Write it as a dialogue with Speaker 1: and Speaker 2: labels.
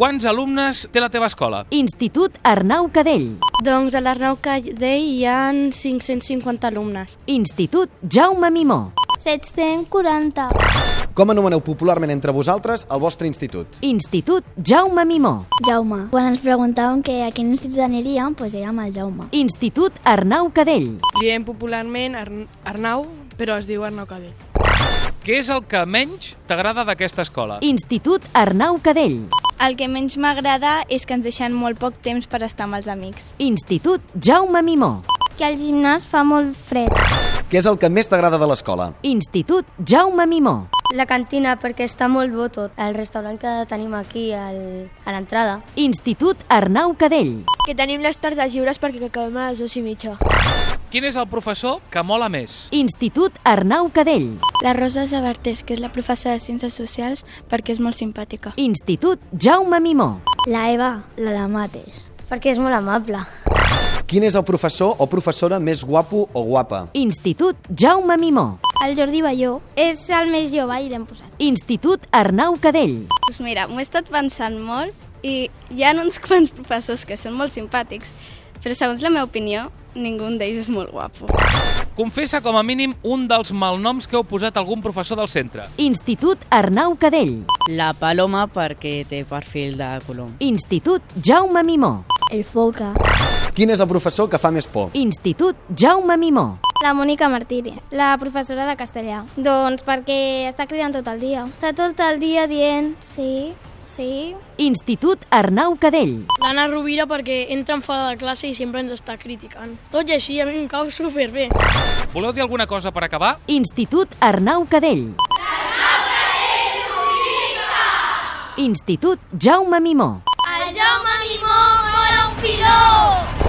Speaker 1: Quants alumnes té la teva escola?
Speaker 2: Institut Arnau Cadell.
Speaker 3: Doncs a l'Arnau Cadell hi ha 550 alumnes.
Speaker 2: Institut Jaume Mimó.
Speaker 4: 740.
Speaker 5: Com anomeneu popularment entre vosaltres el vostre institut?
Speaker 2: Institut Jaume Mimó.
Speaker 4: Jaume. Quan ens preguntàvem que a quin institut aniríem, doncs érem el Jaume.
Speaker 2: Institut Arnau Cadell.
Speaker 6: Li diem popularment Arn- Arnau, però es diu Arnau Cadell.
Speaker 1: Què és el que menys t'agrada d'aquesta escola?
Speaker 2: Institut Arnau Cadell.
Speaker 3: El que menys m'agrada és que ens deixen molt poc temps per estar amb els amics.
Speaker 2: Institut Jaume Mimó.
Speaker 4: Que el gimnàs fa molt fred.
Speaker 5: Què és el que més t'agrada de l'escola?
Speaker 2: Institut Jaume Mimó.
Speaker 7: La cantina, perquè està molt bo tot. El restaurant que tenim aquí al, a l'entrada.
Speaker 2: Institut Arnau Cadell.
Speaker 3: Que tenim les tardes lliures perquè acabem a les dues i mitja.
Speaker 1: Quin és el professor que mola més?
Speaker 2: Institut Arnau Cadell.
Speaker 3: La Rosa Sabartés, que és la professora de Ciències Socials, perquè és molt simpàtica.
Speaker 2: Institut Jaume Mimó.
Speaker 4: La Eva, la de mates.
Speaker 7: Perquè és molt amable.
Speaker 5: Quin és el professor o professora més guapo o guapa?
Speaker 2: Institut Jaume Mimó.
Speaker 4: El Jordi Balló és el més jove i l'hem posat.
Speaker 2: Institut Arnau Cadell.
Speaker 3: Doncs mira, m'ho he estat pensant molt i hi ha uns quants professors que són molt simpàtics, però segons la meva opinió, ningú d'ells és molt guapo.
Speaker 1: Confessa com a mínim un dels malnoms que heu posat a algun professor del centre.
Speaker 2: Institut Arnau Cadell.
Speaker 8: La paloma perquè té perfil de colom.
Speaker 2: Institut Jaume Mimó.
Speaker 4: El Foca.
Speaker 5: Quin és el professor que fa més por?
Speaker 2: Institut Jaume Mimó.
Speaker 4: La Mònica Martiri, la professora de castellà. Doncs perquè està cridant tot el dia. Està tot el dia dient sí, sí,
Speaker 2: Institut Arnau Cadell.
Speaker 9: L'Anna Rovira perquè entra enfadada de classe i sempre ens està criticant. Tot i així, a mi em cau superbé.
Speaker 1: Voleu dir alguna cosa per acabar?
Speaker 2: Institut Arnau Cadell. Institut Jaume Mimó.
Speaker 4: El Jaume Mimó vola un piló!